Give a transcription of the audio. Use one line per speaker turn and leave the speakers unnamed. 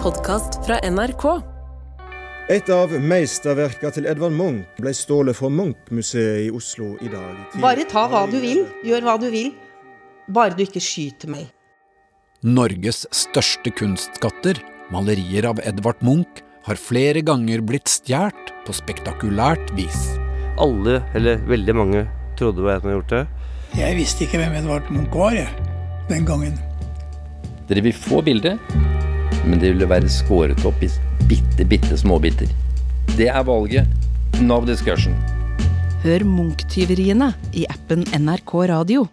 podkast fra NRK.
Et av meisterverka til Edvard Munch ble stålet fra Munch-museet i Oslo i dag.
Bare ta hva du vil, gjør hva du vil. Bare du ikke skyter meg.
Norges største kunstskatter, malerier av Edvard Munch, har flere ganger blitt stjålet på spektakulært vis.
Alle, eller veldig mange, trodde det var jeg som hadde gjort det.
Jeg visste ikke hvem Edvard Munch var jeg, den gangen.
Dere vil få bildet, men det vil være skåret opp i bitte, bitte små biter. Det er valget. Nav discussion.
Hør Munch-tyveriene i appen NRK Radio.